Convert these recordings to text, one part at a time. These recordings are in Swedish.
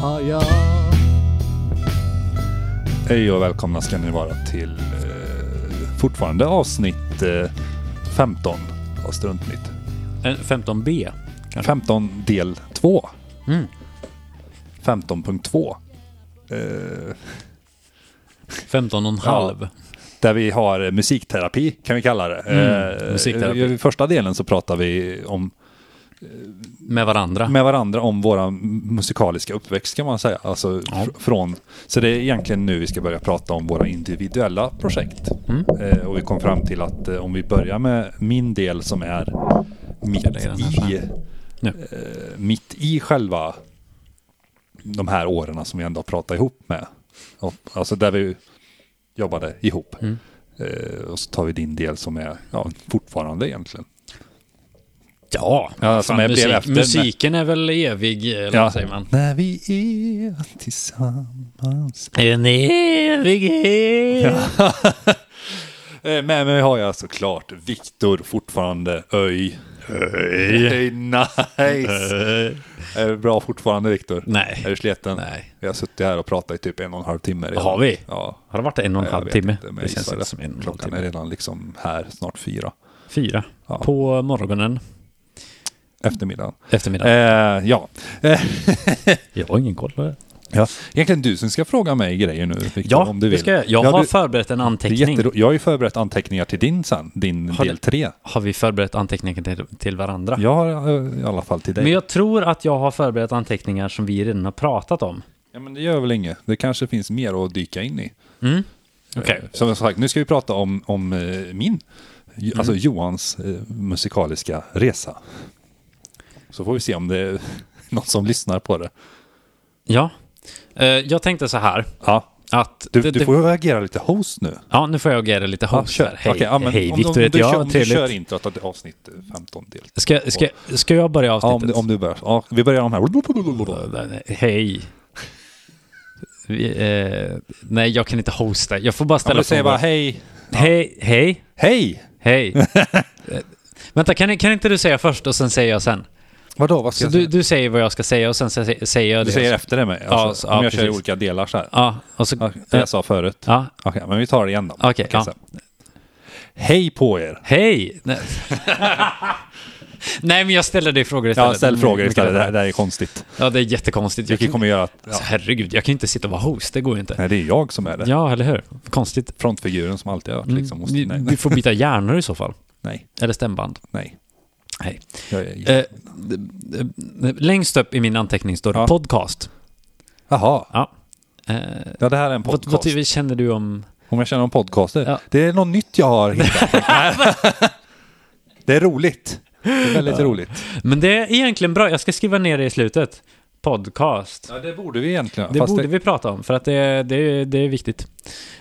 har jag. Hej och välkomna ska ni vara till eh, fortfarande avsnitt eh, 15 av Struntnytt. Eh, 15B. 15 del 2. Mm. 15.2. Eh, 15 och en halv. där vi har musikterapi kan vi kalla det. Eh, Mm, musikterapi. I första delen så pratar vi om, Med varandra. med varandra om våra musikaliska uppväxt kan man säga. Alltså, fr- från, så det är egentligen nu vi ska börja prata om våra individuella projekt. Mm. Eh, och vi kom fram till att eh, om vi börjar med min del som är mitt lägger den här så i, här. Nu. eh, mitt i själva de här åren som vi ändå har pratat ihop med. Och, alltså där vi jobbade ihop. Mm. Eh, och så tar vi din del som är ja, fortfarande egentligen. Ja, Ja, som fan, jag blev musik, efter, men- musiken är väl evig, eh, eller vad säger man? När vi är tillsammans. En evighet. Eh, Med mig har jag såklart Viktor fortfarande. Öj. Öj. nice. Är det bra fortfarande Viktor? Eh. Nej. Är du sliten? Nej. Vi har suttit här och pratat i typ en och en halv timme redan. Har vi? Ja. Har det varit en och en Jag halv vet timme? inte, men det jag känns gissar inte som en och en halv Klockan timme. är redan liksom här snart fyra. Fyra. Ja. På morgonen, Eftermiddagen. eftermiddag. Eh, ja. Eh, Jag har ingen koll på det. ja. Egentligen du som ska fråga mig grejer nu Viktor, Ja, om du vill. det ska jag. Jag Ja, har du- förberett en det är anteckning. jättero- jag har ju förberett anteckningar till din sen, din Har del du- tre. Har vi förberett anteckningar till, till varandra? Jag har eh, i alla fall till dig. Men jag tror att jag har förberett anteckningar som vi redan har pratat om. Ja, men det gör väl inget. Det kanske finns mer att dyka in i. Mm. Okej. Eh, Som sagt, nu ska vi prata om, om eh, min, Mm. Ju- alltså Johans eh, musikaliska resa. Så får vi se om det är någon som lyssnar på det. Ja. Eh, Jag tänkte så här. Ja, Att du, det- du det- får ju agera lite host nu. Ja, nu får jag agera lite host här. Hej, Okej, ja, men hej om Viktor du, om heter du jag. Kör, om du Trevligt. kör introt av avsnitt 15 del. Ska, ska, ska jag börja Ja, om avsnittet? du, om du börjar. Ja, vi börjar om här. Hej. Vi, eh, nej, jag kan inte hosta. Jag får Ja, bara men ställa du säger bara frågor. hej. hej, hej, Hej! hej. Eh, Vänta, kan, kan inte du säga först och sen säger jag sen? Vadå, vad ska Så jag du, säga? du säger vad jag ska säga och sen sä- säger jag Du det. säger efter det mig. Alltså, ja, om jag kör i precis. olika delar så här. Ja, och så... Ja, Det jag sa förut. Ja, Okej, men vi tar det igen då. Okej, ja. sen. Hej på er! hej! Nej. nej, men jag ställer dig frågor istället. Ja, ställ frågor istället. Det här, det här är konstigt. Ja, det är jättekonstigt. Mm, Jag Vilket kan, kommer göra att... Ja. alltså, herregud, jag kan inte sitta och vara host. Det går ju inte. Nej, det är jag som är det. Ja, eller hur? Konstigt. Frontfiguren som alltid har varit liksom. Måste, Vi, nej, vi Mm. får byta hjärnor i så fall. nej, Eller stämband. nej. Nej. Jag är, Eh, d- d- d- längst upp i min anteckning står det Ja. podcast. Jaha, Ja. Eh, ja, det här är en vad, podcast. vad ty- känner du om... Om jag känner om podcaster. Ja. Det är något nytt jag har hittat. det är roligt. Det är väldigt roligt. Men det är egentligen bra. Jag ska skriva ner det i slutet. Podcast. Ja, det borde vi egentligen. Det fast borde vi prata om, för att det, det, det är viktigt.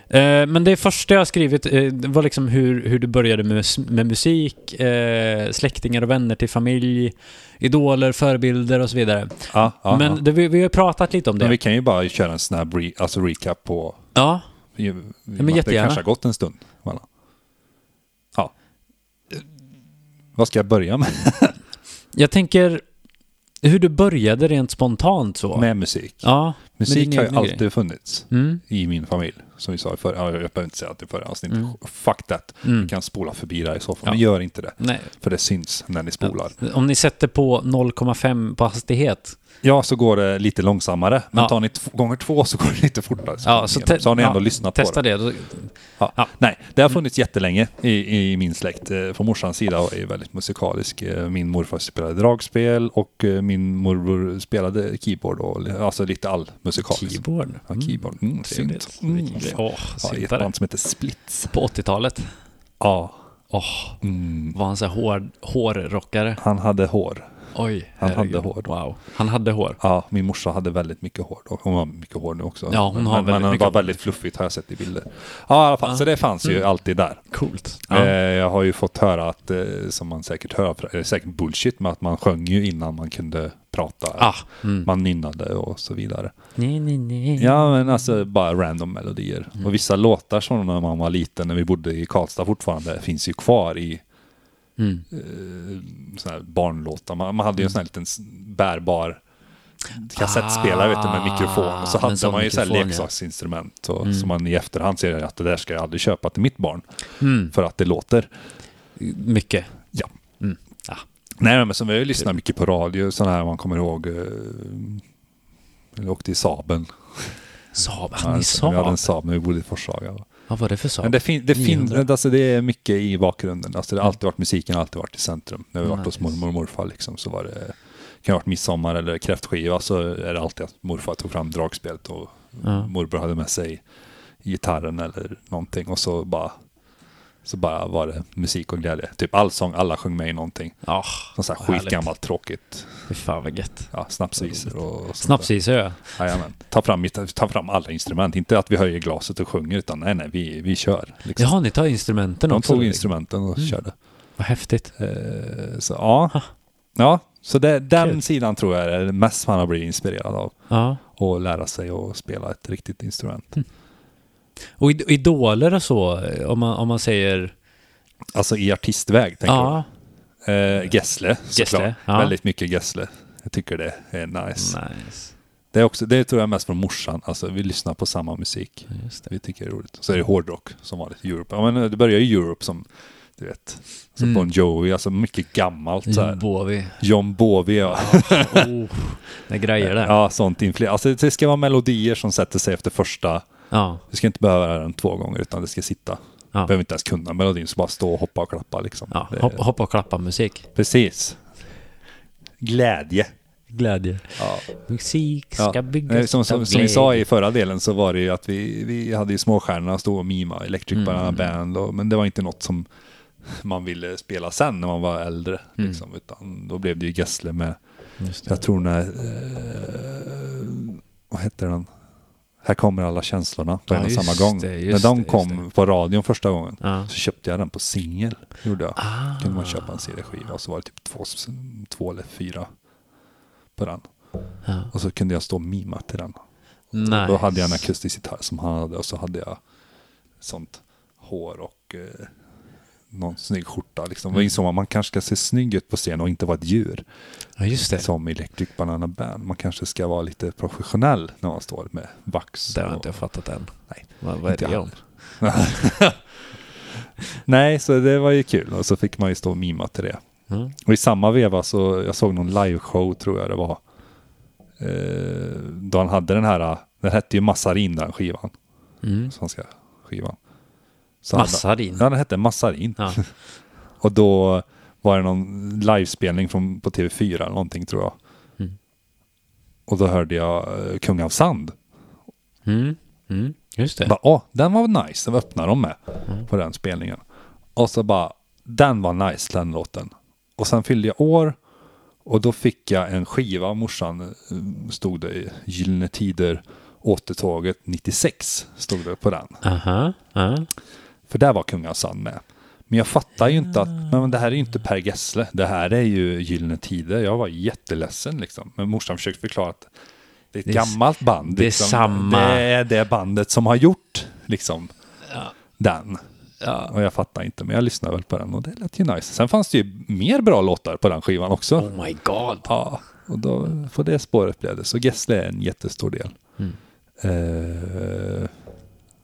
Eh, men det första jag har skrivit eh, det var liksom hur, hur du började med, mus- med musik, eh, släktingar och vänner till familj, idoler, förebilder och så vidare. Ja, ja, men ja. Det, vi, vi har ju pratat lite om det. men vi kan ju bara köra en snabb re, alltså recap på... Ja, Ju, men Det jättegärna. kanske har gått en stund. mellan. Ja. Vad ska jag börja med? jag tänker hur du började rent spontant så. Med musik. ja, med din musik har ju egna grej. alltid funnits Mm. i min familj. Som vi sa i förra, ja, jag behöver inte säga att det förra avsnittet. Fuck that. Mm. Vi kan spola förbi det här i så fall. Ja. Men gör inte det. Nej. För det syns när ni spolar. Om ni sätter på 0,5 på hastighet. Ja, så går det lite långsammare. Men Ja. tar ni två, gånger två så går det lite fortare. Ja, så, te- så har ni ändå ja, lyssnat på det. testa det. Då- Ja. Ja. Nej, det har funnits jättelänge i, i min släkt. Eh, Från morsans sida och är väldigt musikalisk. Eh, Min morfar spelade dragspel och eh, min morbror spelade keyboard. Och, li- alltså lite all musikalisk. Keyboard. Ja, keyboard. Mm, synt. Trevligt. Mm. Vilken grej. Åh, Ja, i ett syntare. band som heter Splits. På 80-talet. Ja. Åh, Mm. var han så här hård, hårrockare? Han hade hår. Oj, Han hade herregud. hår. Wow, han hade hår. Ja, min morsa hade väldigt mycket hår då. Hon har mycket hår nu också. Ja, hon har men, väldigt men mycket var hår. Mm. väldigt fluffigt har jag sett i bilder. Ja, i alla fall. Så det fanns ju alltid där. Coolt. Eh, Ja. Jag har ju fått höra att, eh, som man säkert hör, för det är säkert bullshit, men att man sjöng ju innan man kunde prata. Ah, mm. Man nynnade och så vidare. Nej, nej, nej. Ja, men alltså bara random melodier. Mm. Och vissa låtar som när man var liten, när vi bodde i Karlstad fortfarande, finns ju kvar i eh, Mm. Mm. såna här barnlåtar. Man, man hade ju en sån här liten s- bärbar kassettspelare vet du, med mikrofon. Och så Ah, hade en sån man ju så här mikrofon, ja. leksaksinstrument och, som man i efterhand ser att det där ska jag aldrig köpa till mitt barn. Mm. För att det låter. Mycket. Ja. Mm. Ah. Nej, men sen har jag ju lyssnat mycket på radio, sådana här man kommer ihåg. eh, Jag åkte i Saben. Saab, han är Vi hade en Saab. Saab när vi bodde i Forshaga. Vad var det för Saab? Men det, fin- det, fin- 900. alltså det är mycket i bakgrunden. Alltså det har alltid varit musiken, har alltid varit i centrum. När vi varit hos Nice. mormor och morfar liksom, så var det, det kan ha varit midsommar eller kräftskiva så är det alltid att morfar tog fram dragspelet och Ja. morbror hade med sig gitarren eller någonting och så bara, så bara var det musik och glädje. Typ allsång, alla sjöng med i någonting. Ah, Sånt här Härligt. skitgammalt tråkigt. fy fan vad gött. Ja, snapsvisor och sånt där. Snapsisö ja. Jajamän. Ta fram, ta fram alla instrument, inte att vi höjer glaset och sjunger utan nej, nej, vi, vi kör. liksom. Jaha, ni tar instrumenten De också? tog instrumenten Mm. och körde. Vad häftigt. Eh, Så ja, ja så det, den Kul. sidan tror jag är det mest man har blivit inspirerad av. Ja. Och lära sig att spela ett riktigt instrument. Och id- idoler och så, om man, om man säger... Alltså i artistväg tänker Ja, jag. Eh, Gessle såklart. Gessle, ja. Väldigt mycket Gessle. Jag tycker det är nice. nice. Det, är också, det tror jag är mest från morsan. Alltså vi lyssnar på samma musik. Just det. Vi tycker det är roligt. Så är det hårdrock som vanligt. Europe. Ja, men eh, det börjar ju Europe som, du vet. Så Mm. Bon Jovi, alltså mycket gammalt. Så här. Bovi. John Bowie, ja. Oh, det är grejer där. Ja, sånt infly. Alltså det ska vara melodier som sätter sig efter första. Ja. Du ska inte behöva höra den två gånger utan det ska sitta. Ja. Behöver inte ens kunna melodin, så bara stå och hoppa och klappa liksom. Ja, Det- hoppa, hoppa och klappa musik. Precis. Glädje. Glädje. Ja. Musik Ja. ska Nej, byggas Som, av som, som vi glädje. sa i förra delen så var det ju att vi, vi hade ju småstjärnorna stå och mima, Electric Mm. Banana Band, och, men det var inte något som man ville spela sen när man var äldre. Mm. Liksom, utan då blev det ju Gessle med, Just det. jag tror när, eh, vad hette den? Här kommer alla känslorna på Ja, en och just samma gång. det, när just de det, just kom på radion första gången Ja. Ah. så köpte jag den på singel. Gjorde jag. kunde man köpa en CD-skiva och så var det typ två, två eller fyra på den. Ja. Och så kunde jag stå och mima till den. Nice. Då hade jag en akustisk gitarr som han hade och så hade jag sånt hår och eh, någon snygg skjorta. Liksom. Mm. Då insåg man man kanske ska se snygg ut på scen och inte vara ett djur Ja, just det. som Electric Banana Band. Man kanske ska vara lite professionell när man står med vax. Det har inte och- jag fattat än. Nej, Vad, vad är inte det jag om? Nej, så det var ju kul och så fick man ju stå och mima till det. Mm. Och i samma veva så, jag såg någon liveshow tror jag det var. Eh, då han hade den här, den hette ju Massarin den skivan, Mm. svenska skivan. Så han- Massarin. Ja, den hette Massarin. Ja. Och då var det någon livespelning från, på TV4 eller någonting tror jag. Mm. Och då hörde jag eh, Kung av Sand. Mm. Mm. Just det. Bara, Åh, den var nice, den öppnade de med på den spelningen. Och så bara, den var nice den låten. Och sen fyllde jag år och då fick jag en skiva av morsan, eh, stod det i Gyllene Tider, Återtåget 96, stod det på den. Aha. Ja. För där var Kung av Sand med. Men jag fattar ju inte att Ah. men det här är ju inte Per Gessle. Det här är ju Gyllene Tider. Jag var jätteledsen liksom. Men morsan försökte förklara att det är ett Det är s- gammalt band. det är liksom. samma. Det är det bandet som har gjort liksom den. Ja. Och jag fattar inte, men jag lyssnade väl på den och det lät ju nice. Sen fanns det ju mer bra låtar på den skivan också. Oh my god. Ja, och då på det spåret blev det. Så Gessle är en jättestor del. Mm. Eh,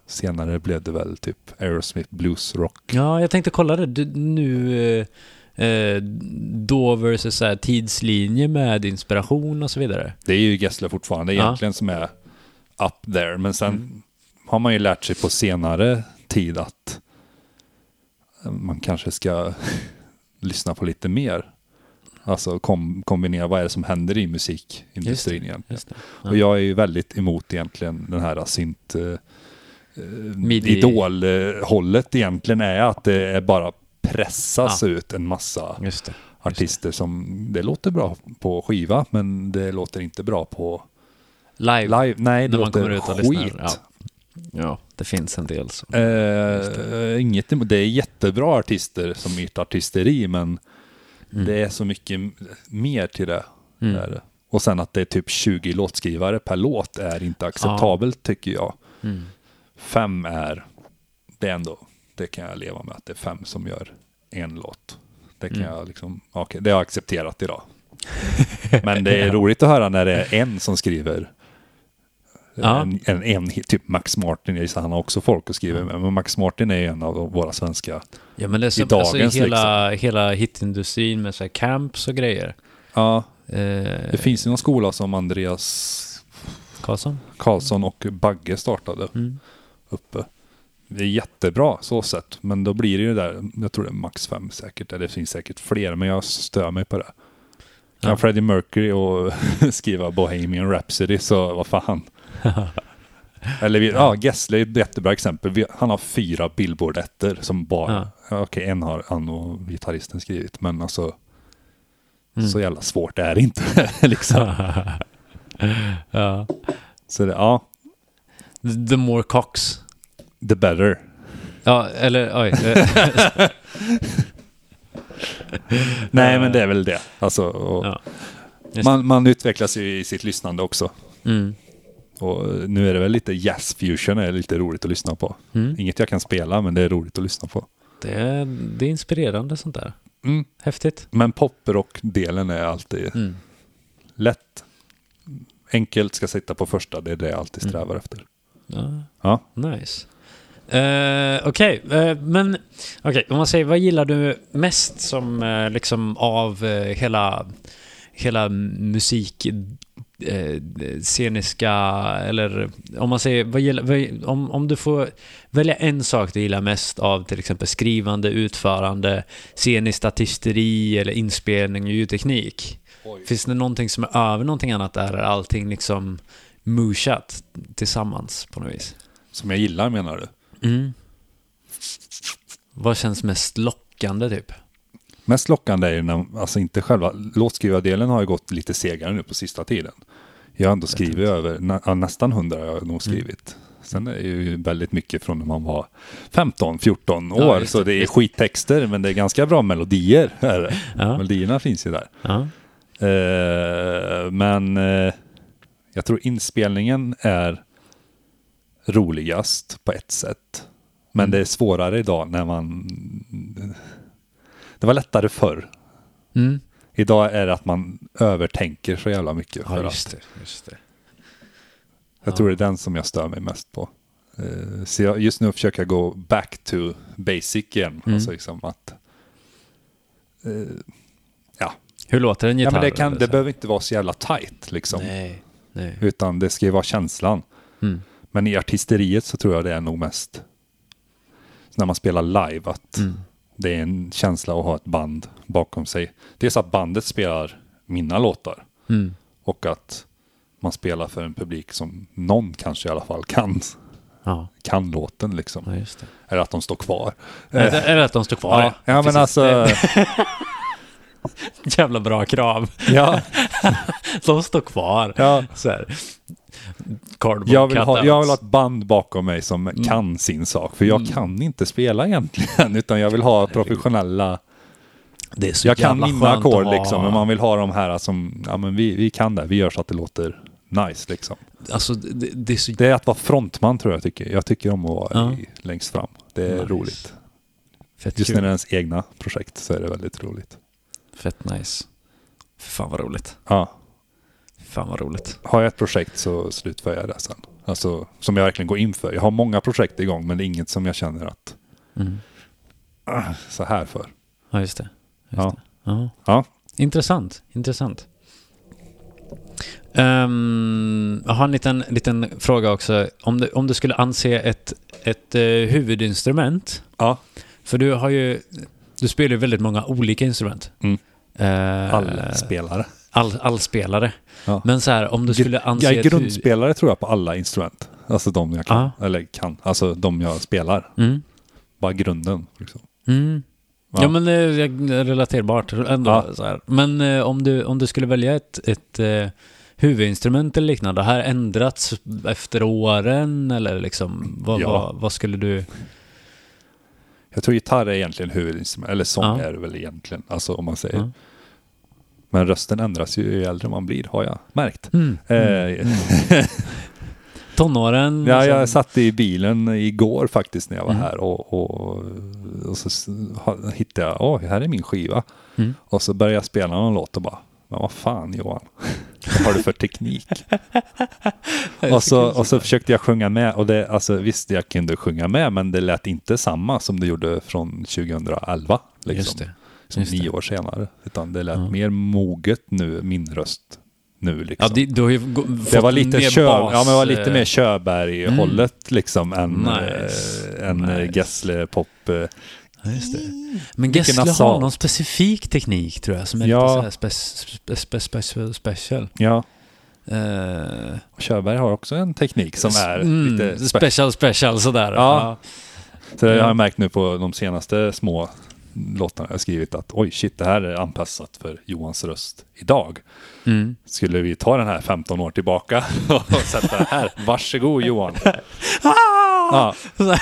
senare blev det väl typ Aerosmith Blues Rock. Ja, jag tänkte kolla det du, nu. eh, Eh, då versus så här, tidslinje med inspiration och så vidare. Det är ju Gessle fortfarande egentligen som är up there. Men sen Mm. har man ju lärt sig på senare tid att eh, man kanske ska lyssna på lite mer. Alltså kom, kombinera, vad är det som händer i musikindustrin egentligen? Just det. Ja. Och jag är ju väldigt emot egentligen den här synt... Eh, Midi- Idol-hållet egentligen är att det är bara pressas Ja. ut en massa Just det. artister som det låter bra på skiva men det låter inte bra på Live. live. Nej, det När man kommer låter ut och skit. lyssnar. Ja, det finns en del så. Eh, inget, emot- det är jättebra artister som mitt artisteri men Mm. det är så mycket m- mer till det. det är det. Och sen att det är typ 20 låtskrivare per låt är inte acceptabelt tycker jag. Mm. Fem är, det är ändå, det kan jag leva med att det är fem Mm. som gör en låt. Det kan jag liksom, okej, det har jag accepterat idag. Men det är roligt att höra när det är en som skriver. Ja. En, en, en, typ Max Martin, jag gissar han har också folk att skriva med. Men Max Martin är ju en av våra svenska. Ja men det är I så, dagens alltså, hela, hela hitindustrin med så här camps och grejer. Ja, Eh, det finns ju någon skola som Andreas Karlsson? Karlsson och Bagge startade Mm. uppe. Det är jättebra så sett, men då blir det ju där, jag tror det är max fem säkert, eller det finns säkert fler, men jag stör mig på det. Kan Ja. Freddie Mercury och skriva Bohemian Rhapsody så vad fan. eller vi, ja, Gessle är ett jättebra exempel. Vi, han har fyra billboard som bara, ja. okej en har han och gitarristen skrivit, men alltså Mm. så jävla svårt är det inte. liksom. ja. Så det, ja, The more cocks. the better. Ja, eller oj. eh, Nej, men det är väl det. Alltså, och Ja. Just man, man utvecklas ju i sitt lyssnande också. mm. Och eh, nu är det väl lite jazz fusion är lite roligt att lyssna på. Mm. Inget jag kan spela, men det är roligt att lyssna på. Det, är, det är inspirerande sånt där. Mm. Häftigt. Men poprock-delen är alltid Mm. lätt. Enkelt ska sitta på första, det är det jag alltid strävar Mm. efter. Ja, Ja. nice. Eh, Okej, eh, men okej, om man säger vad gillar du mest som eh, liksom av eh, hela, hela musik eh, sceniska eller om man säger vad gillar, vad, om, om du får välja en sak du gillar mest av till exempel skrivande, utförande, sceniskt artisteri eller inspelning och ljudteknik. Finns det någonting som är över någonting annat där? Är allting liksom mushat tillsammans på något vis? Som jag gillar menar du? Mm. Vad känns mest lockande typ? Mest lockande är ju när, alltså inte själva, låtskrivardelen har ju gått lite segare nu på sista tiden. Jag har ändå skrivit över, nä, ja, nästan 100 har jag Mm. nog skrivit. Sen är det ju väldigt mycket från när man var 15, 14 år, Ja, just så det, det är just det. skittexter, men det är ganska bra melodier. Är det. Ja. Melodierna finns ju där. Ja. Eh, men eh, jag tror inspelningen är roligast på ett sätt. Men Mm. det är svårare idag när man... Det var lättare förr. Mm. Idag är det att man övertänker så jävla mycket. För ja, att, just det. Just det. jag tror det är den som jag stör mig mest på. Eh, Så jag, just nu försöker jag gå back to basic igen. Mm. Alltså liksom att, eh, ja. Hur låter en ja gitarr? men det, kan, eller det så? behöver inte vara så jävla tight liksom. Nej. Nej. Utan det ska ju vara känslan. Mm. Men i artisteriet så tror jag det är nog mest så när man spelar live att Mm. det är en känsla att ha ett band bakom sig. Dels att bandet spelar mina låtar Mm. och att man spelar för en publik som någon kanske i alla fall kan, Ja. kan låten liksom. ja, just det. Eller att de står kvar. Är det, är det att de står kvar? ja, ja men precis. alltså, Det är ett jävla bra krav. ja, De står kvar. ja, Så här. Cardboard jag, vill ha, cutouts. jag vill ha ett band bakom mig som Mm. kan sin sak. För jag kan inte spela egentligen, utan jag vill ha professionella Det är så Jag kan jävla mina skönt ackord att ha- liksom, men man vill ha de här som, ja men vi, vi kan det, vi gör så att det låter nice liksom. Alltså, det, det är så... Det är att vara frontman tror jag tycker. Jag tycker om att vara Ja. i, längst fram. Det är Nice. roligt. Fett Just kul. när det är ens egna projekt så är det väldigt roligt. Fett nice. Fy fan vad roligt. Ja, Fy fan vad roligt. har jag ett projekt så slutför jag det sen. Alltså som jag verkligen går in för. Jag har många projekt igång men det är inget som jag känner att Mm. ah, så här för. Ja, just det. Just Ja. det. Ja. Ja, Intressant, intressant. Ehm, jag har en liten, liten fråga också. Om du, om du skulle anse ett, ett eh, huvudinstrument, ja. för du har ju, du spelar ju väldigt många olika instrument. Mm. Eh, alla spelare. all, allspelare. Ja. Men så här, om du skulle Gr- anse... jag är ett huvud- grundspelare tror jag på alla instrument. Alltså de jag Ah. kan, eller kan, alltså de jag spelar. Mm. Bara grunden. Liksom. Mm. Ja. Ja. men det är relaterbart ändå. Ja. Så här. Men eh, om du, om du skulle välja ett, ett eh, huvudinstrument eller liknande, har det här ändrats efter åren eller liksom, vad, Ja. vad, vad skulle du... Jag tror gitarr är egentligen huvudinstrument, eller sång Ja. är det väl egentligen, alltså om man säger. Ja. Men rösten ändras ju ju äldre man blir, har jag märkt. Mm. Eh, Tonåren? ja, liksom. Mm. jag satt i bilen igår faktiskt när jag var här och, och, och så s- ha- hittade jag, åh, här är min skiva. Mm. Och så började jag spela någon låt och bara, Men vad fan Johan, vad har du för teknik? och, så, och så försökte jag sjunga med och det, alltså, visst jag kunde sjunga med men det lät inte samma som det gjorde från 2011. Liksom, Just det. Som just nio det. år senare. Utan det lät Ja. mer moget nu, min röst. Nu liksom. Ja, det, du har ju gå- fått Det var lite, mer kö, bas, ja, men det var lite eh, Mm. mer Körberg-hållet liksom än, Nice. eh, än Nice. nice. Gessle-pop. eh. Ja, just det. Men Gessle har nasalt. någon specifik teknik tror jag som är Ja. lite så här spe, spe, spe, special. special. Ja, Eh, och Körberg har också en teknik som är mm, lite speciell. special, special sådär. Ja. Så det har Ja. jag märkt nu på de senaste små låtarna jag skrivit att oj shit, det här är anpassat för Johans röst idag. Ja. Mm. Skulle vi ta den här 15 år tillbaka och sätta den här, varsågod Johan. Ah! Ja,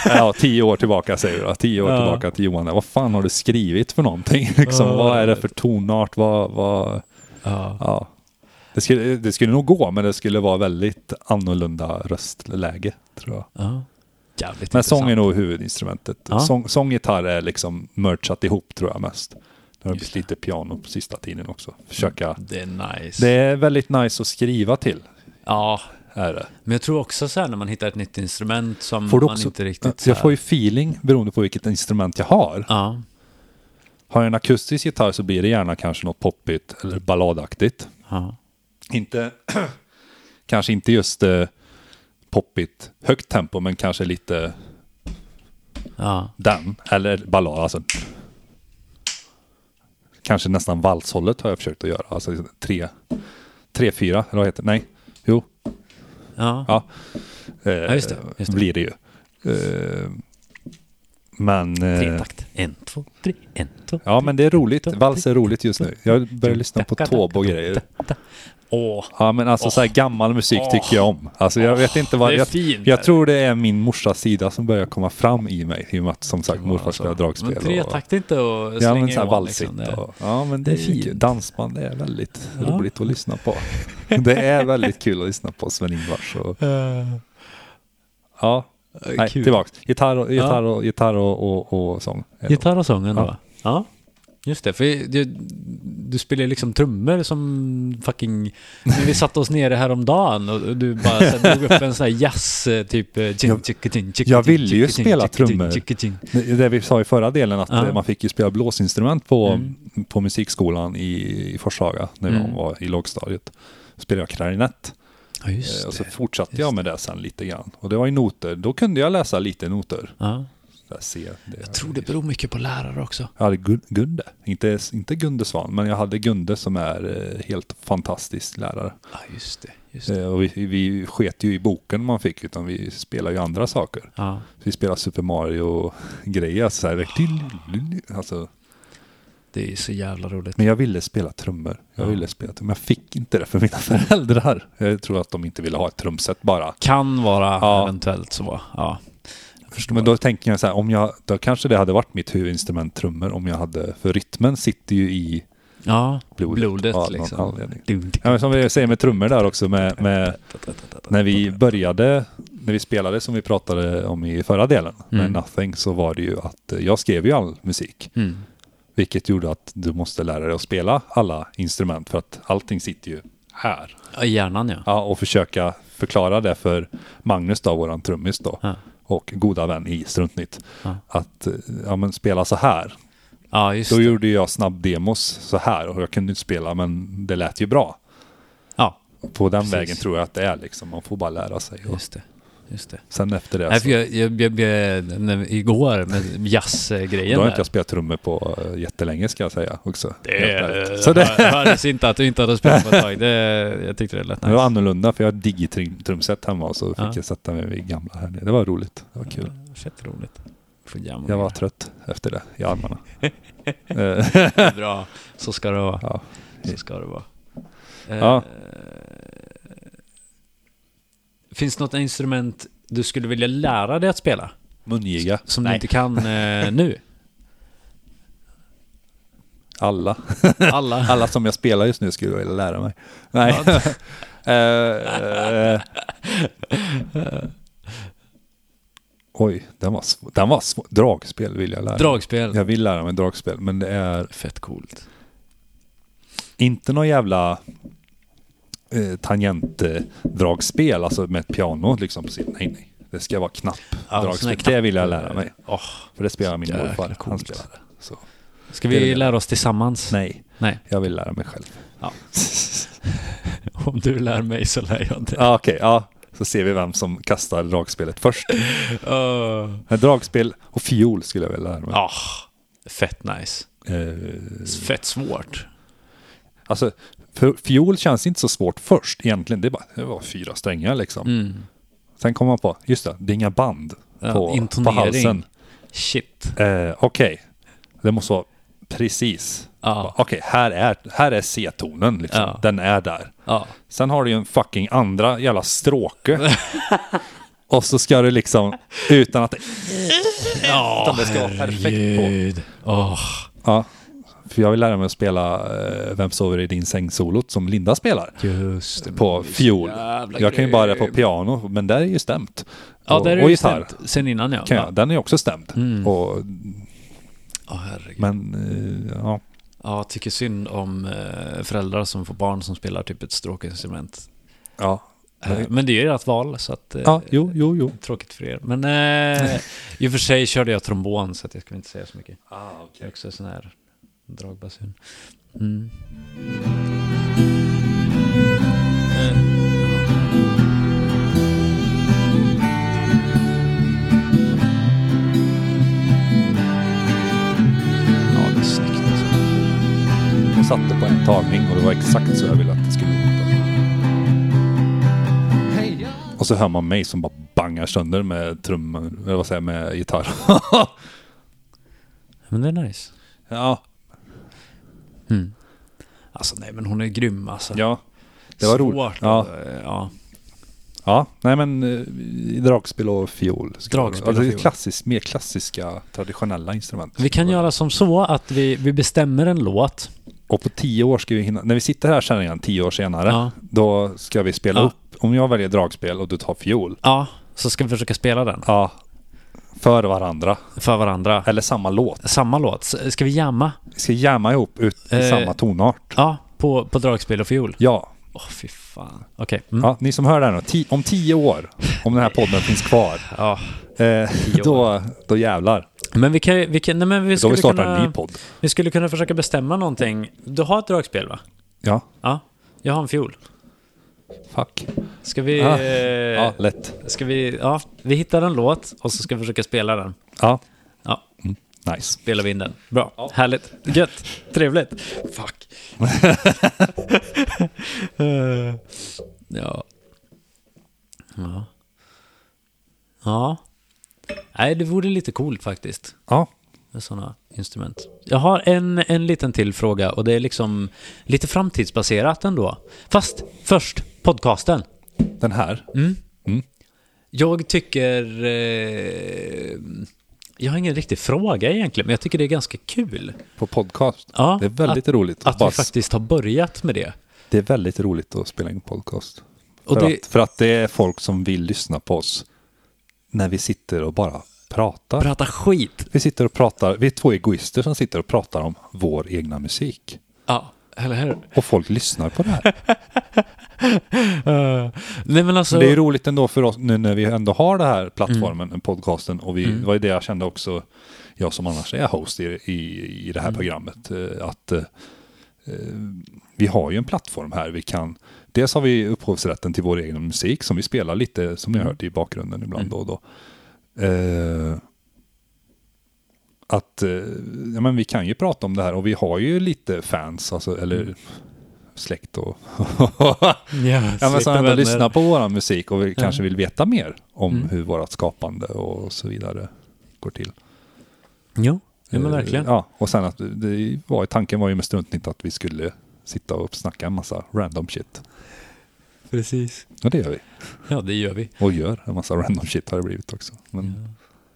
ja, 10 år tillbaka säger du, 10 år Ja. tillbaka till Johan. Vad fan har du skrivit för någonting? Liksom, Ja, vad är jag det för tonart? Vad, vad, Ja. ja. det, skulle, det skulle nog gå, men det skulle vara väldigt annorlunda röstläge tror jag. Ja. Jävligt Men intressant. sång är nog huvudinstrumentet. Ja. Sång, sång, gitarr är liksom merchat ihop tror jag mest. Det har Just Mm. blivit lite piano på sista tiden också. Försöka. Det är nice. Det är väldigt nice att skriva till. Ja, Är det. men jag tror också så här när man hittar ett nytt instrument som Får du man också- inte riktigt... så Jag här- får ju feeling beroende på vilket instrument jag har. Ja, Har jag en akustisk gitarr så blir det gärna kanske något poppigt eller balladaktigt. ja. Inte, kanske inte just eh, poppigt högt tempo men kanske lite ja. den. Eller ballad, alltså. Kanske nästan valshållet har jag försökt att göra. Alltså tre, tre fyra, eller vad heter det? Nej, jo. ja. Ja, eh, just det, just det. Blir det ju. Eh, men... eh, Tretakt. En, två, tre, en, två. ja, men det är roligt. Vals är roligt just nu. Jag börjar lyssna på Taube och grejer. Åh, Ja, men alltså så här gammal musik tycker jag om. Alltså jag vet inte vad... det är Jag, fint. jag tror det är min morsas sida som börjar komma fram i mig. I och med att som sagt morfar spelar dragspel. Men alltså, tre och- takt inte och Ja slänga men så här igång, valsigt. liksom. Det- och, ja men det, det är är fint. fint. Dansband det är väldigt Ja. roligt att lyssna på. Det är väldigt kul att lyssna på Sven-Ingvars. och- Eh, Ja, nej, kul. tillbaks. Gitarr, och, gitarr, och, gitarr och, och, och sång. är det. Gitarr och sången då? Ja. va? Ja. Just det, för du, du spelar ju liksom trummor som fucking... När vi satte oss nere häromdagen och du bara så här, drog upp en sån här jazz, eh, typ... eh, tjing, Jag- tjing, tjing, tjing, jag ville tjing, ju tjing, spela tjing, tjing, trummor. tjing, tjing. Det vi sa i förra delen att Ja. man fick ju spela blåsinstrument på, Mm. på musikskolan i, i Forshaga när Mm. man var i lågstadiet. Spelade jag klarinett. Ja, just Eh, Och så det. fortsatte just jag med det sen lite grann. Och det var ju noter. Då kunde jag läsa lite noter. Ja. Där ser det. Jag tror det beror mycket på lärare också. Jag hade Gun- Gunde, inte, inte Gunde Svan, men jag hade Gunde som är eh, helt fantastisk lärare. Ja, just det. Just det. Eh, Och vi, vi sket ju i boken man fick, utan vi spelar ju andra saker. Ja. Vi spelar Super Mario-grejer, alltså Ah. så här, alltså, Det är så jävla roligt. Men jag ville spela trummor, jag Ja. ville spela trummor. Jag fick inte det för mina föräldrar. Jag tror att de inte ville ha ett trumset bara. Kan vara Ja. eventuellt så. Ja. Jag förstår. Men då tänker jag så här, om jag, då kanske det hade varit mitt huvudinstrument trummor om jag hade, för rytmen sitter ju i ja. blodet. Blodet av någon liksom. anledning. Dun, Ja, men som vi säger med trummor där också, med, med när vi började, när vi spelade som vi pratade om i förra delen Mm. med Nothing, så var det ju att eh, jag skrev ju all musik, Mm. vilket gjorde att du måste lära dig att spela alla instrument för att allting sitter ju här. Ja, i hjärnan ja. Ja, och försöka förklara det för Magnus då, våran trummis då, Ja. och goda vän i Struntnytt, Ja. att eh, ja, men spela så här. Ja, just Då det. gjorde jag snabbdemos så här och jag kunde inte spela, men det lät ju bra. Ja, På den Precis. vägen tror jag att det är liksom, man får bara lära sig. Och just det. Just det. sen efter det Nej, så- för jag, jag, jag, jag, när, igår med jazzgrejen Då har inte där. jag spelat trummor på eh, jättelänge ska jag säga också. Det, Helt ärligt. eh, Så det, hör- hördes inte att du inte hade spelat på ett tag. Det, jag tyckte det lät det var nice. annorlunda för jag hade digitrumset hemma och så fick Ja. jag sätta mig vid gamla här nere. Det var roligt, det var kul. Fett roligt. Får jävla Jag var göra. trött efter det i armarna. Eh, Bra. Så ska det vara. ja. Så ska det vara. Eh, Ja. Finns det något instrument du skulle vilja lära dig att spela? Mungiga, Som du Nej. inte kan eh, nu? alla. Alla? Alla som jag spelar just nu skulle jag vilja lära mig. Nej. Eh, eh. Oj, den var, sv- den var sv- Dragspel vill jag lära mig. Dragspel? Jag vill lära mig dragspel, men det är Fett coolt. Inte någon jävla eh, tangentdragspel, alltså med ett piano liksom på sidan. Nej, nej. Det ska vara Ja, såna knappdragspel. här knapp- det vill jag lära mig. Åh, För det spelar min Jäkla morfar. Han coolt. spelade. Så. Ska Det är vi det. lära oss tillsammans? Nej, Nej. jag vill lära mig själv. Ja. Om du lär mig så lär jag dig. Ja, Ah, okej. ja. Så ser vi vem som kastar dragspelet först. Uh. Men Dragspel och fiol skulle jag vilja lära mig. Ah, fett nice. Eh, Fett svårt. alltså, för fiol känns inte så svårt först egentligen. Det, är bara, det var fyra strängar liksom. Sen kommer man på, just det, det är inga band Mm. Ja, på, på intonering. halsen. Shit. Eh, okej, det måste vara precis. Bara, Ja, Okej, här är, här är C-tonen liksom. Ja. Den är där. ja. Sen har du ju en fucking andra jävla stråke. Och så ska du liksom, utan att det, utan det ska vara perfekt på. Gud. Åh. Ja, för jag vill lära mig att spela eh, Vem sover i din säng-solot som Linda spelar just det. på fiol. jävla Jag kan ju bara det på grym. piano, men där är ju stämt. Ja, och, där är och det gitarr. stämt. Sen innan ja. Kan jag. Den är också stämd. Mm. Och, Åh, herregud. men eh, ja, Ja, tycker synd om eh, föräldrar som får barn som spelar typ ett stråkinstrument. ja. Eh, Men det är ju ert val, så att... eh, ja jo, jo, jo. Tråkigt för er. Men eh, i och för sig körde jag trombon, så att jag skulle inte säga så mycket. Ah, Det är också sån här dragbasun. Mm. Ja, det är snyggt alltså. Hon satte på en tagning och det var exakt så jag ville att det skulle låta. Och så hör man mig som bara bangar sönder med trummor, eller vad säger jag, med gitarr. Men det är nice. ja, Mm. Alltså nej, men hon är grym alltså. ja. Det var roligt. Svårt. alltså. Ja. Ja. ja. Ja, nej men eh, dragspel och fiol. ska Dragspel det vara. och alltså, fiol. klassisk, Mer klassiska, traditionella instrument. Vi kan göra som så att vi, vi bestämmer en låt. Och på tio år ska vi hinna, när vi sitter här kärringen, tio år senare, Ja. då ska vi spela Ja. upp. Om jag väljer dragspel och du tar fiol, Ja, så ska vi försöka spela den ja, för varandra. för varandra. Eller samma låt. Samma låt. S- Ska vi jamma? Vi ska jamma ihop ut i Eh. samma tonart. Ja, på, på dragspel och fiol. Ja. Åh, fy fan. Okej. Mm. ja, ni som hör det här nu, ti- om tio år, om den här podden finns kvar, Ja. eh, år. då, då jävlar. Men vi kan, vi kan nej, men vi Då skulle, vi startar kunna, en ny podd. vi skulle kunna försöka bestämma någonting. Du har ett dragspel va? Ja, Ja, jag har en fiol. fuck. Ska vi... Ah. eh, Ja, lätt. Ska vi... Ja, vi hittar en låt och så ska vi försöka spela den. Ja, Ja, nice. spelar vi in den. Bra, härligt, gött, trevligt. Fuck. Eh, ja. ja. Ja. Nej, det vore lite coolt faktiskt. Ja, Med sådana instrument. Jag har en, en liten till fråga och det är liksom lite framtidsbaserat ändå. Fast först, podcasten. den här. Jag tycker... Eh, jag har ingen riktig fråga egentligen, men jag tycker det är ganska kul. på podcast. Ja, det är väldigt roligt. Att Att bara, vi faktiskt har börjat med det. Det är väldigt roligt att spela in podcast. Och för, det- att, för att det är folk som vill lyssna på oss när vi sitter och bara pratar. Prata skit. vi sitter och pratar, vi är två egoister som sitter och pratar om vår egna musik. Ja, eller hur? Och folk lyssnar på det här. Eh, nej men alltså... Men det är ju roligt ändå för oss nu när vi ändå har den här plattformen, podcasten. Och vi, det var ju det jag kände också, jag som annars är host i, i, i det här programmet, eh, att eh, eh, vi har ju en plattform här. Vi kan, dels har vi upphovsrätten till vår egen musik som vi spelar lite, som ni har hört i bakgrunden ibland då och då. Eh, att eh, ja, men vi kan ju prata om det här och vi har ju lite fans, alltså, eller släkt och ja, Ja, men alltså, som ändå vänner. lyssnar på vår musik och vi kanske vill veta mer om Mm. hur vårt skapande och så vidare går till. Jo, ja, men Eh, verkligen. Ja, och sen att det var, tanken var ju med struntnytt att vi skulle sitta och snacka en massa random shit. precis. Och det gör vi. Ja, det gör vi. Och gör en massa random shit har det blivit också. Men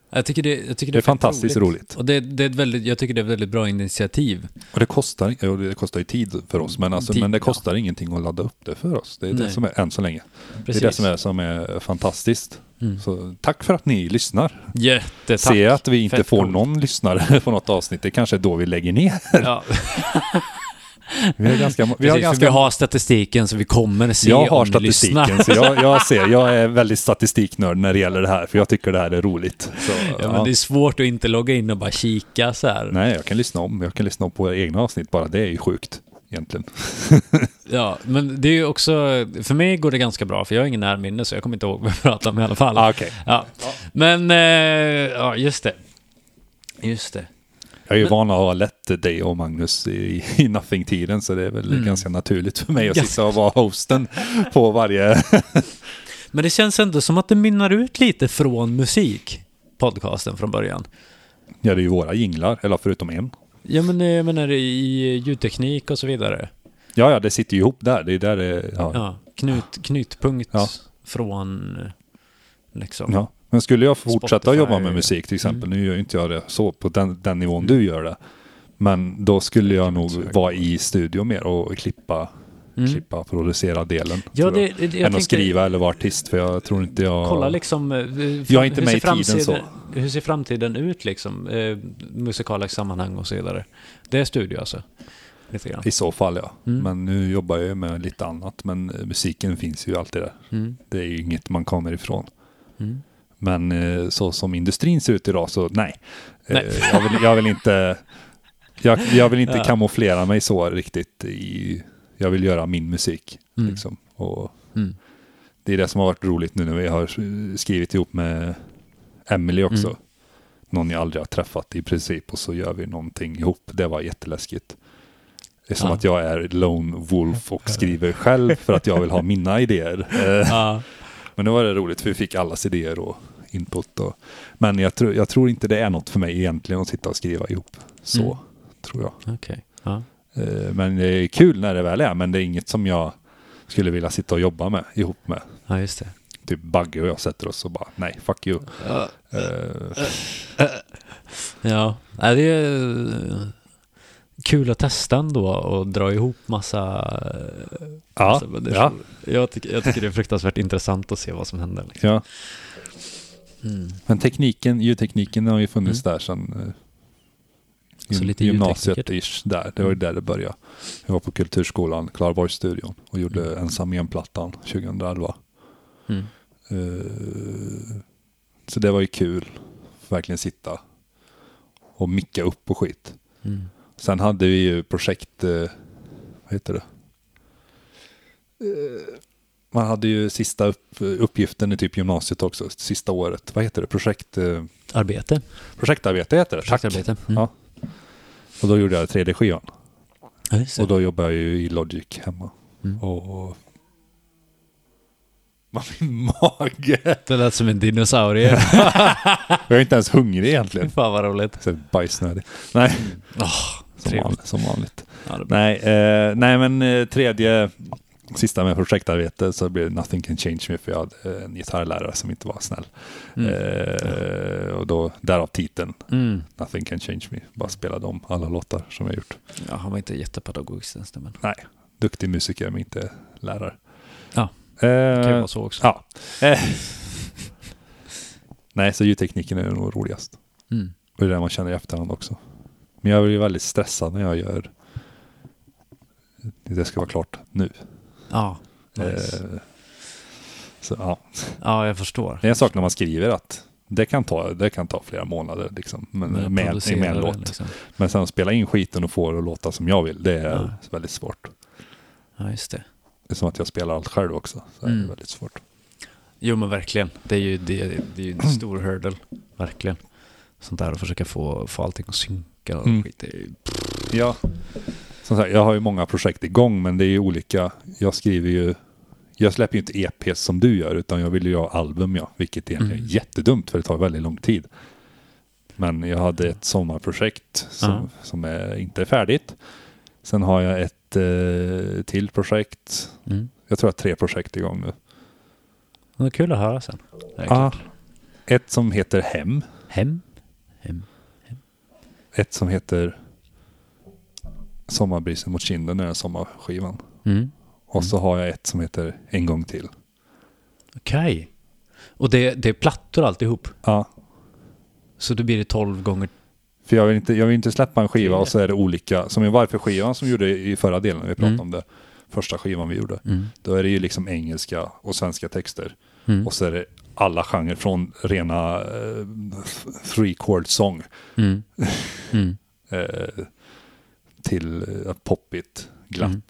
Jag tycker det, jag tycker det det, är fett fantastiskt roligt. Och det, det är ett väldigt, jag tycker det är ett väldigt bra initiativ. Och det kostar, ja, det kostar ju tid för oss, men, alltså, Tid, men det ja. kostar ingenting att ladda upp det för oss. Det är det Nej. som är, än så länge, Precis. Mm. det är det som är, som är fantastiskt. Så tack för att ni lyssnar. Jättetack. Se att vi inte Fett får coolt. någon lyssnare på något avsnitt. Det kanske är då vi lägger ner. Ja. Vi har ganska... Vi Precis, har för ganska vi har statistiken så vi kommer se jag har om ni lyssnar. statistiken, så jag, jag ser. Jag är väldigt statistiknörd när det gäller det här, för jag tycker det här är roligt. Så, Ja, ja. men det är svårt att inte logga in och bara kika så här. Nej, jag kan lyssna om. Jag kan lyssna om på våra egna avsnitt bara. Det är ju sjukt egentligen. Ja, men det är ju också, för mig går det ganska bra för jag har ingen närminne så jag kommer inte ihåg vad jag pratade om i alla fall. Ah, okej. Ja. Men, eh, ja just det. Just det. Jag är ju van att ha lett dig och Magnus i, i Nothing-tiden, så det är väl ganska naturligt för mig att Ganska- sitta och vara hosten på varje... Men det känns ändå som att det minnar ut lite från musik, podcasten från början. Ja, det är ju våra jinglar, eller förutom en. Ja men eh, jag menar i ljudteknik och så vidare. Ja, ja, det sitter ju ihop där. Det är där det... Ja. Ja. Ja, knut, knutpunkt Ja. från eh, liksom. Men skulle jag fortsätta Spotify. Mm. jobba med musik till exempel, nu gör ju inte jag det så på den, den nivån du gör det, men då skulle jag nog vara i studio mer och klippa, klippa producera delen. Mm. Ja, tror jag. det- det- jag Än tänkte- att skriva eller vara artist, för jag tror inte jag... Kolla liksom, eh, hur- Jag är inte hur med ser i tiden framtiden- så. Hur ser framtiden ut liksom? Eh, musikala sammanhang och så vidare. Det är studio alltså. Lite grann. I så fall ja. Mm. Men nu jobbar jag ju med lite annat. Men eh, musiken finns ju alltid där. Mm. Det är ju inget man kommer ifrån. Men eh, så som industrin ser ut idag så nej. Eh, Nej. Jag, vill, jag vill inte, jag, jag vill inte kamouflera mig så riktigt. I, jag vill göra min musik. Liksom. Och Mm. Det är det som har varit roligt nu när vi har eh, skrivit ihop med Emily också. Mm. Någon jag aldrig har träffat i princip och så gör vi någonting ihop. Det var jätteläskigt. Det är som Ja. att jag är lone wolf och skriver själv för att jag vill ha mina idéer. Eh, Ja. Men nu var det roligt för vi fick allas idéer och input. Och, men jag, tror- jag tror inte det är något för mig egentligen att sitta och skriva ihop. Så Mm. tror jag. Okej. Ja. Eh, Men det är kul när det väl är, men det är inget som jag skulle vilja sitta och jobba med ihop med. ja, just det. Typ Bagge och jag sätter oss och bara nej, fuck you. Ja, Eh, ja. Nej, det är eh, kul att testa ändå och dra ihop massa... eh, ja, massa människor. ja, Jag, tycker, jag tycker det är fruktansvärt intressant att se vad som händer. Liksom. ja. Mm. Men tekniken, ljudtekniken har ju funnits där sedan eh, Så gym- lite gymnasiet-ish där. Det var ju där det började. Jag var på Kulturskolan, Klarborgsstudion och gjorde Ensam igen-plattan 2011. Mm. Eh, så det var ju kul. Verkligen sitta och micka upp och skit. Mm. Sen hade vi ju projekt, eh, vad heter det? Eh, Man hade ju sista upp, uppgiften i typ gymnasiet också, sista året. Vad heter det? Projekt, eh, Arbete. projektarbete heter det. Tack. Projektarbete. Mm. Ja. Och då gjorde jag 3D-skivan. Ja, just det. Och då jobbade jag ju i Logic hemma. Mm. Och... Man, min mage! Det lät som en dinosaurie. Jag är inte ens hungrig egentligen. Fan vad roligt. Så Bajsnödig. Nej, Oh, som vanligt. Som vanligt. Ja, det Nej, eh, nej men eh, tredje, sista med projektarbete så blev det Nothing Can Change Me för jag hade eh, en gitarrlärare som inte var snäll. Eh, och då, därav titeln Mm. Nothing Can Change Me. Bara spelade om alla låtar som jag gjort. Ja, han var inte jättepedagogisk den stämmen. Nej, duktig musiker men inte lärare. Ja, eh, Det kan ju vara så också. Ja. Eh. nej, så ljudtekniken är nog roligast. Mm. Och det är det man känner i efterhand också. Men jag blir väldigt stressad när jag gör det ska vara klart nu. Ja. Nice. Eh, Så, ja. ja, jag förstår. Det är en sak när man skriver att det kan ta, det kan ta flera månader liksom, men, Men jag med, producerar med en den, låt. liksom. Men sen att spela in skiten och få det att låta som jag vill, det är Ja. väldigt svårt. Ja, just det. Det är som att jag spelar allt själv också, så är Mm. det väldigt svårt. Jo, men verkligen. Det är ju, det, det är ju en stor hurdle. Verkligen. Sånt där att försöka få, få allting att synka och Mm. skit. Det är ju- Ja, som sagt, jag har ju många projekt igång, men det är ju olika. Jag skriver ju, jag släpper ju inte EPs som du gör, utan jag vill ju göra album, ja, vilket egentligen Mm. är jättedumt, för det tar väldigt lång tid. Men jag hade ett sommarprojekt som, Ja. som är, inte är färdigt. Sen har jag ett eh, till projekt. Mm. Jag tror jag har tre projekt igång nu. Det är kul att höra sen. Det Ah, är klart. ett som heter Hem. Hem. Hem. Ett som heter Sommarbrisen mot kinden, den här sommarskivan. Mm. Och så har jag ett som heter En gång till. Okej. Och det, det är plattor alltihop. Ja, Så då blir det 12 gånger För jag vill, inte, jag vill inte släppa en skiva och så är det olika, som i Varför-skivan som vi gjorde i förra delen, vi pratade Mm. om det, första skivan vi gjorde. Mm. Då är det ju liksom engelska och svenska texter. Mm. Och så är det alla genrer från rena eh, three chord song Mm. Mm. eh, till eh, poppigt, glatt, Mm.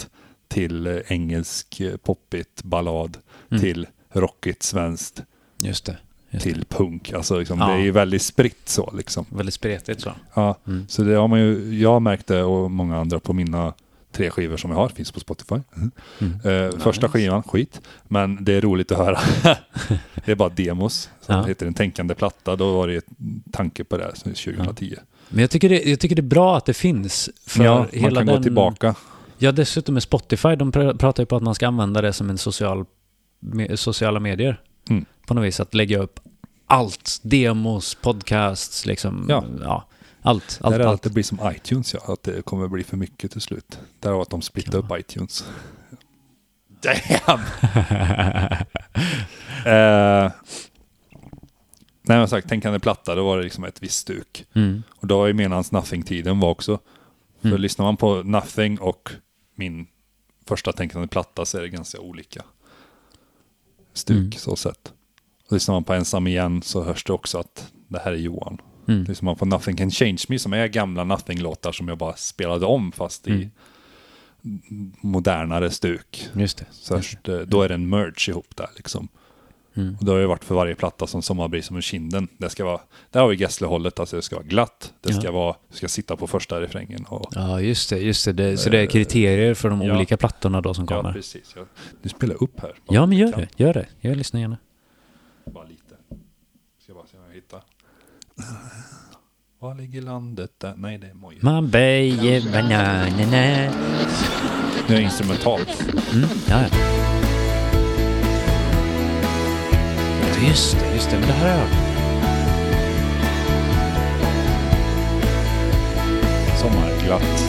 till eh, engelsk eh, poppigt, ballad, Mm. till rockigt, svenskt, Just det. Just det. till punk. Alltså liksom, Ja. det är ju väldigt spritt så liksom. Väldigt spretigt så. Ja, Mm. så det har man ju, jag har märkt det och många andra på mina tre skivor som jag har, finns på Spotify. Mm. Eh, Första skivan, skit, men det är roligt att höra. det är bara demos, som Ja. heter En tänkande platta, då var det ju tanke på det här, så 2010. Men jag tycker, det, jag tycker det är bra att det finns. För ja, hela man kan den, gå tillbaka. Ja, dessutom med Spotify, de pr- pratar ju på att man ska använda det som en social, me, sociala medier. Mm. På något vis, att lägga upp allt. Demos, podcasts, liksom. Ja. allt, Allt, det allt, är att allt. det blir som iTunes, ja, att det kommer bli för mycket till slut. Därav att de splittar Ja. upp iTunes. Damn! eh, nej, men sagt, tänkande platta, då var det liksom ett visst stuk. Mm. Och då var ju medans Nothing-tiden var också. För Mm. lyssnar man på Nothing och min första tänkande platta så är det ganska olika stuk Mm. så sett. Och lyssnar man på Ensam igen så hörs det också att det här är Johan. Mm. Lyssnar man på Nothing Can Change Me som är gamla Nothing-låtar som jag bara spelade om fast i Mm. modernare stuk. Just det. Så hörs det, då är det en merge ihop där liksom. Mm. Och det har ju varit för varje platta som sommarbris som en kinden. Det ska vara, där har vi Gessle-hållet, alltså det ska vara glatt, det ska, Ja. vara, du ska sitta på första refrängen. Och, Ja, just det. Just det. det så det är kriterier för de Ja. olika plattorna då som ja, kommer. precis. Ja. Nu spelar jag upp här. Ja, men gör det. Gör det. Jag lyssnar gärna. Bara lite. Ska bara se om jag hittar. Var ligger landet där? Nej, det är Moja. Man böjer bananerna. Nu är det instrumentalt. Mm, ja, ja. Just det, just det. Men det här har jag hört. Sommarglatt.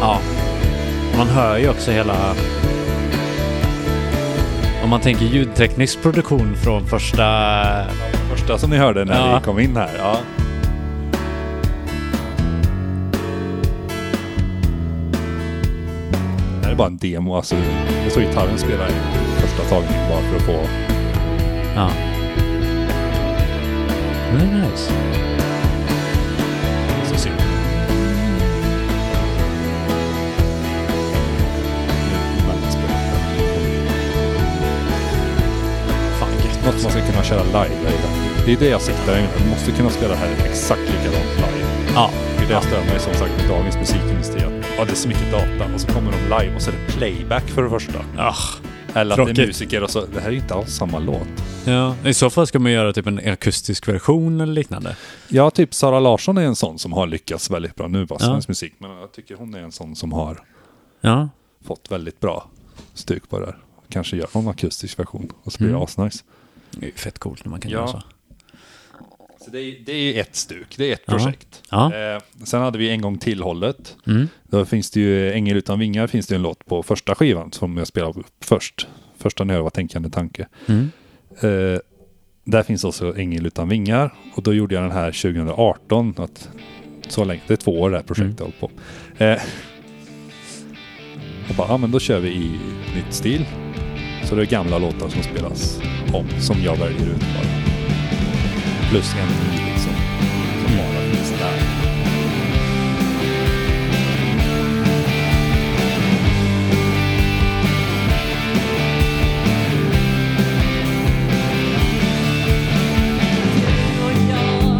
Ja. Man hör ju också hela... Om man tänker ljudteknisk produktion från första... Första som ni hörde när Ja. vi kom in här. Ja. Det här är bara en demo, alltså. Det är så gitarren spelar i första tagningen bara för att få... Ja. Very nice. Så ser vi. Det är väldigt spännande. Fan, gött. Något man ska kunna köra live. är det. Det är det jag siktar emot. Du måste kunna spela det här exakt likadant live. Ja. Det är det jag stör mig som sagt med dagens musikindustri. Att, ja, det är så mycket data och så kommer de live och så är det playback för det första. Ah. Eller att det är Tråkigt. musiker och så, det här är ju inte alls samma låt. Ja, i så fall ska man göra typ en akustisk version eller liknande. Ja, typ Sara Larsson är en sån som har lyckats väldigt bra nu på Ja. svensk musik. Men jag tycker hon är en sån som har Ja. fått väldigt bra stuk på det här. Kanske gör någon akustisk version och så blir Mm. det asnice. Det är ju fett coolt när man kan Ja. göra så. Så det är, det är ju ett stuk, det är ett Ja. projekt. Ja. Eh, sen hade vi en gång till-hållet. Mm. Då finns det ju Ängel utan vingar finns det ju en låt på första skivan som jag spelade upp först. Första när jag var Tänkande tanke. Mm. Eh, där finns också Ängel utan vingar. Och då gjorde jag den här 2018. Att så länge, det är två år det här projektet har Mm. hållit på. Eh, och bara, ja men då kör vi i nytt stil. Så det är gamla låtar som spelas om, som jag väljer ut bara. Plus en ny liksom, som bara finns där. och jag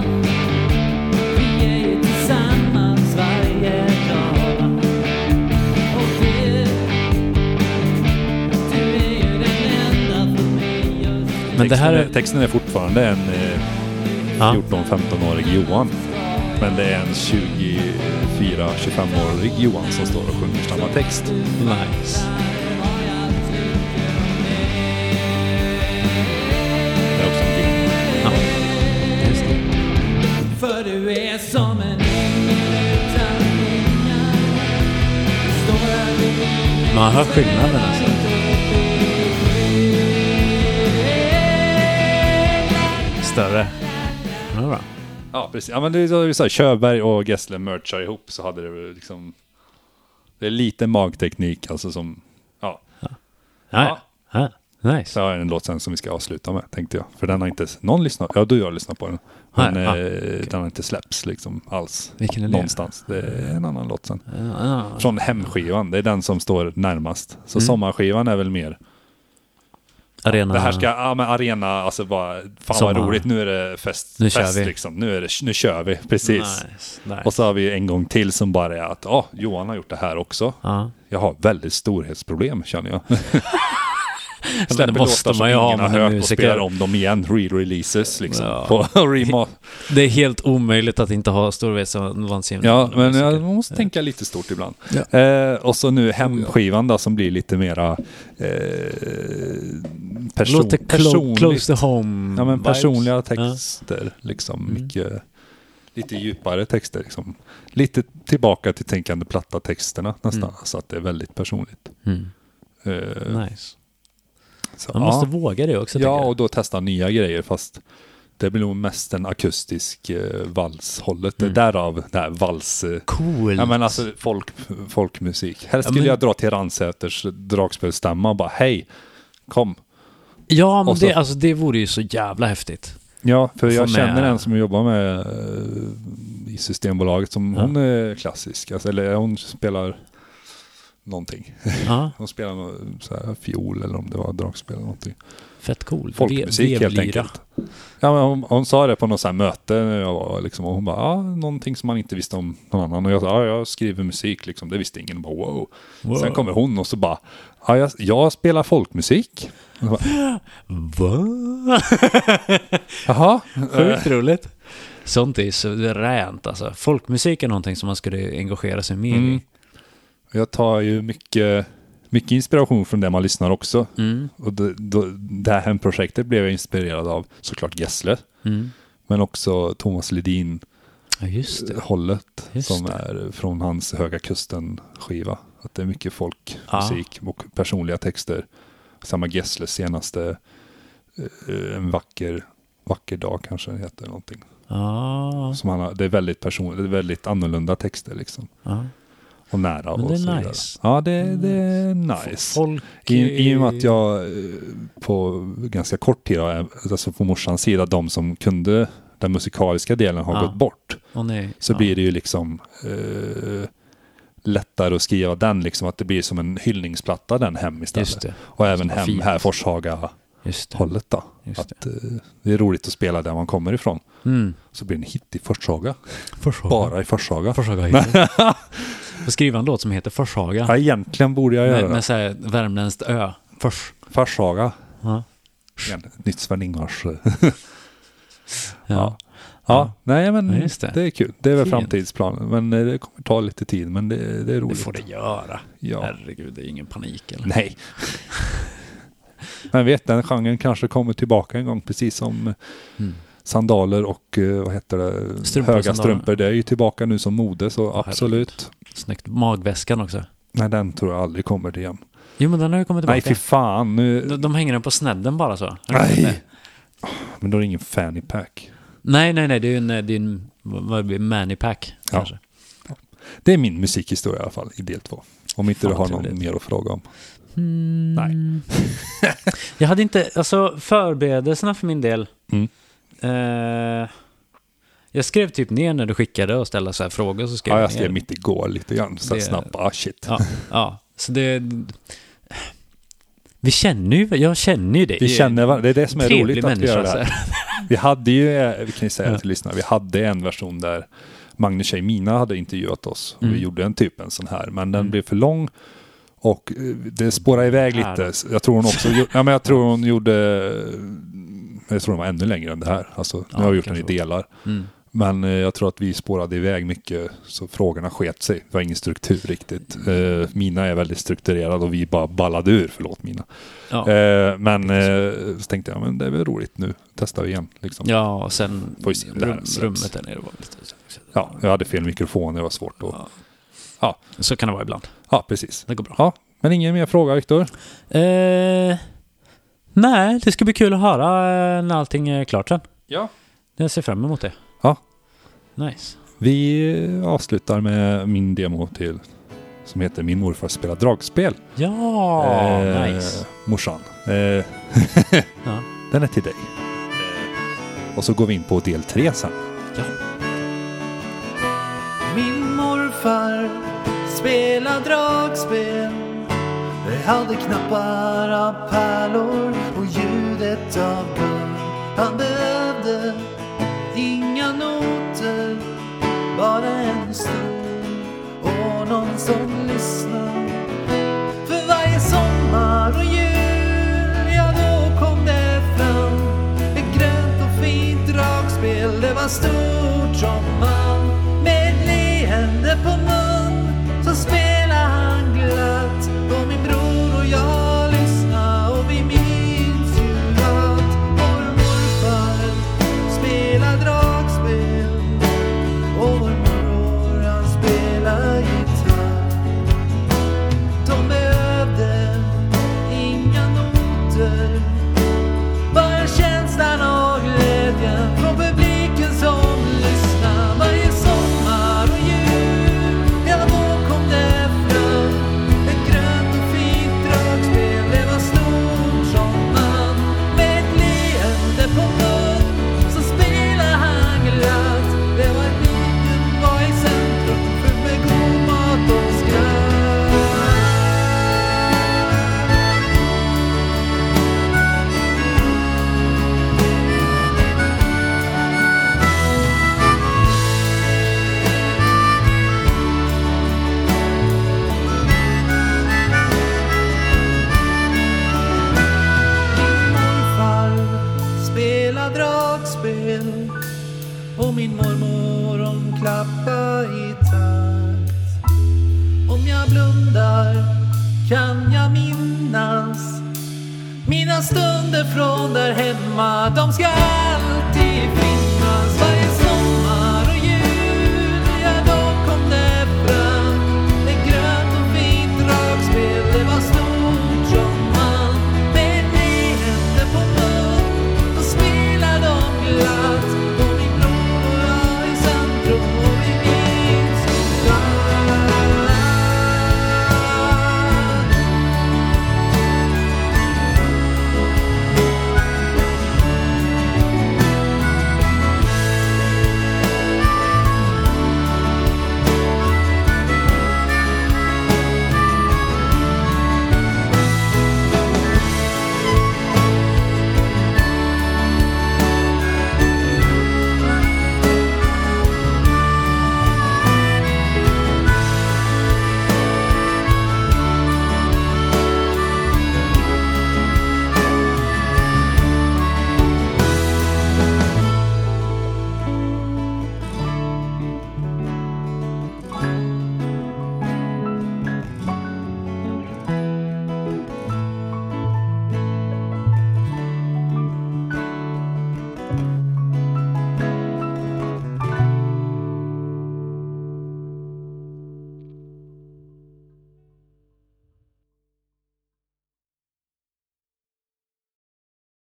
Vi är ju tillsammans varje dag Och du Du är ju den enda för mig just nu Men det här texten, är... är... texten är fortfarande en eh, Ja. 14-15-årig Johan. Men det är en 24-25-årig Johan som står och sjunger samma text. Nice. Det är också en del. Ja. Just det. För du är som en ängel utan vingar Står här vid Man hör skillnaden alltså. Större. Ja, bra. Ja, precis. Ja, men det är ju så här, Körberg och Gessle merchar ihop så hade det liksom... Det är lite magteknik alltså som... Ja, Ja. ja. Nice. så har jag en låt sen som vi ska avsluta med tänkte jag. För den har inte... Någon lyssnat? Ja, du och jag har lyssnat på den. Men Nej, ja, eh, den har inte släppts liksom alls. Vilken är det? Någonstans. Det är en annan låt sen. Ja, ja. Från hemskivan, det är den som står närmast. Så Mm. sommarskivan är väl mer... Arena. Det här ska, ja men arena, alltså bara, fan Sommar. vad roligt, nu är det fest, Nu kör fest vi. liksom. Nu, är det, nu kör vi, precis. Nice. nice. Och så har vi en gång till som bara är att, ja, Johan har gjort det här också. ja. Jag har väldigt storhetsproblem känner jag. det måste man ju ha ingen har med en hört och musiker. spelar om dem igen, re-releases liksom. Ja. På rema- Det är helt omöjligt att inte ha storhetsvansinne. ja, men jag måste tänka lite stort ibland. Ja. Eh, och så nu hemskivan då, som blir lite mera eh, person, Låter clo- personligt. close to home Ja, men vibes. Mm. personliga texter, liksom mycket, lite djupare texter. Liksom. Lite tillbaka till tänkande platta texterna nästan, Mm. så att det är väldigt personligt. Ja. Mm. Eh, Nice. så, Man måste ja. våga det också. ja, tycker jag. och då testa nya grejer, fast det blir nog mest en akustisk eh, valshållet. Det är Mm. Därav det här vals... Eh, Coolt. Ja men alltså folk, folkmusik. Här skulle men- jag dra till Ransäters dragspelstämma och bara hej, kom. Ja, men Och så- det, alltså, det vore ju så jävla häftigt. Ja, för jag Som känner är- en som jobbar med eh, i Systembolaget som Ja. hon är klassisk, alltså, eller hon spelar någonting. Ja, Hon spelar nå- så här, fiol eller om det var dragspel eller någonting. fett coolt. Folkmusik Vev- helt vevlyra. enkelt. Ja, men hon, hon sa det på något så här möte när jag var liksom, och hon bara, ja, någonting som man inte visste om någon annan. Och jag sa, ja, jag skriver musik liksom, det visste ingen. Och bara, wow. Wow. Sen kommer hon och så bara, ja, jag, jag spelar folkmusik. Och jag bara, Va? Jaha, Sjukt roligt. Sånt är ju suveränt alltså. Folkmusik är någonting som man skulle engagera sig mer Mm. i. jag tar ju mycket, mycket inspiration från det man lyssnar också. Mm. Och det, då, det här hemprojektet blev jag inspirerad av såklart Gessle, Mm. men också Thomas Ledin-hållet, Ja, just det. Just som det. är från hans Höga Kusten-skiva. Att det är mycket Ah. folkmusik och personliga texter. Samma Gessles senaste, eh, En vacker, vacker dag kanske den heter någonting. Ja, Som han har, det är väldigt personligt, det är väldigt annorlunda texter liksom. ja. Och nära Men det och är så vidare. nice. Mm. Ja, det, det är nice. Folk... I, I och med att jag eh, på ganska kort tid, har- alltså på morsans sida, de som kunde den musikaliska delen har Ja. gått bort. Åh, nej. Så Ja. blir det ju liksom eh, lättare att skriva den, liksom att det blir som en hyllningsplatta den hem Just istället. det. Och även Vad hem fint. här, Forshaga-hållet Just det. då. Just Att, eh, det är roligt att spela där man kommer ifrån. Mm. Så blir det en hit i Forshaga. Forshaga. Bara i Forshaga. Forshaga heter det. Och skriva en låt som heter Forshaga. Ja, egentligen borde jag göra Med, det. med så här värmländskt ö. Fors. Forshaga. Ja. Igen, ett Nytt eh, Sven-Ingvars... Ja. Ja, nej men Ja, just det. det. är kul. Det är väl Fint. framtidsplanen. Men eh, det kommer ta lite tid, men det, det är Det roligt. får det göra. Ja. Herregud, det är ingen panik eller? Nej. men vet, den genren kanske kommer tillbaka en gång, precis som eh, Mm. sandaler och eh, vad heter det? Strumpor och höga sandaler. strumpor. Det är ju tillbaka nu som mode, så herregud. absolut. Snyggt. Magväskan också. Nej, den tror jag aldrig kommer igen. Jo, men den har ju kommit Nej, tillbaka. fy fan. Nu... de, de hänger den på snedden bara så. Nej. Men då är det ingen fanny pack. Nej, nej, nej. Det är ju en, det är ju en vad blir det, manipack Ja. kanske. Det är min musikhistoria i alla fall, i del två. Om inte Fan, du har vad någon trevligt. mer att fråga om. Mm. Nej. jag hade inte, alltså förberedelserna för min del. Mm. Eh, jag skrev typ ner när du skickade och ställde så här frågor. Så skrev Ja, jag ner. skrev mitt igår lite grann, så Det- det... snabbt. Ah, shit. Ja, ja. Så det... Vi känner ju, jag känner ju dig. Vi känner varandra. Det är det som är Trevlig roligt att vi människa, alltså. gör det så här. Vi hade ju, eh, vi kan ju säga till lyssnarna, vi hade en version där Magnus Tjejmina hade intervjuat oss och Mm. vi gjorde en typ en sån här, men den Mm. blev för lång och eh, det spårade iväg Här. lite. Jag tror hon också, gjo- ja men jag tror hon gjorde, eh, jag tror hon var ännu längre än det här, alltså nu Ja, har vi gjort den i kanske. delar. Mm. Men eh, jag tror att vi spårade iväg mycket så frågorna sket sig. Det var ingen struktur riktigt. Eh, Mina är väldigt strukturerad och vi bara ballade ur, förlåt Mina. Ja. Eh, men eh, så tänkte jag, men det är väl roligt nu. Testar vi igen. Liksom. Ja. ja, och sen Får vi se om det här rum, släpps. rummet där nere var lite... jag hade fel mikrofon, det var svårt att... Ja. Ja. Så kan det vara ibland. Ja, precis. Det går bra. Ja, men ingen mer fråga Viktor? Eh, nej, det ska bli kul att höra eh, när allting är klart sen. Ja. Jag ser fram emot det. Ja. Nice. Vi eh, avslutar med min demo till som heter Min morfar spelar dragspel. Ja, Eh, nice. Morsan. Eh, Ja. Den är till dig. Och så går vi in på del tre sen. Min morfar spelade dragspel Det hade knappar av pärlor och ljudet av guld Han behövde inga noter Bara en stol och någon som lyssnar För varje sommar och jul, ja då kom det fram Ett grönt och fint dragspel, det var stort som man Med ett leende på mun så spelade han glatt Och min bror och jag lyssnade och vi minns ju att Vår morfar spelar dragspel och vår morbror han spelar gitarr de behövde inga noter Bara känslan av glädjen från publiken som lyssnar Varje sommar och jul, ja då kom det fram Ett grönt och fint dragspel, det var stort som man Med ett leende på mun så spelar han glatt Det var livet var i centrum, fyllt med god mat och skratt Min morfar spelar dragspel och min mormor hon klappar i takt. Om jag blundar kan jag minnas mina stunder från där hemma, de ska aldrig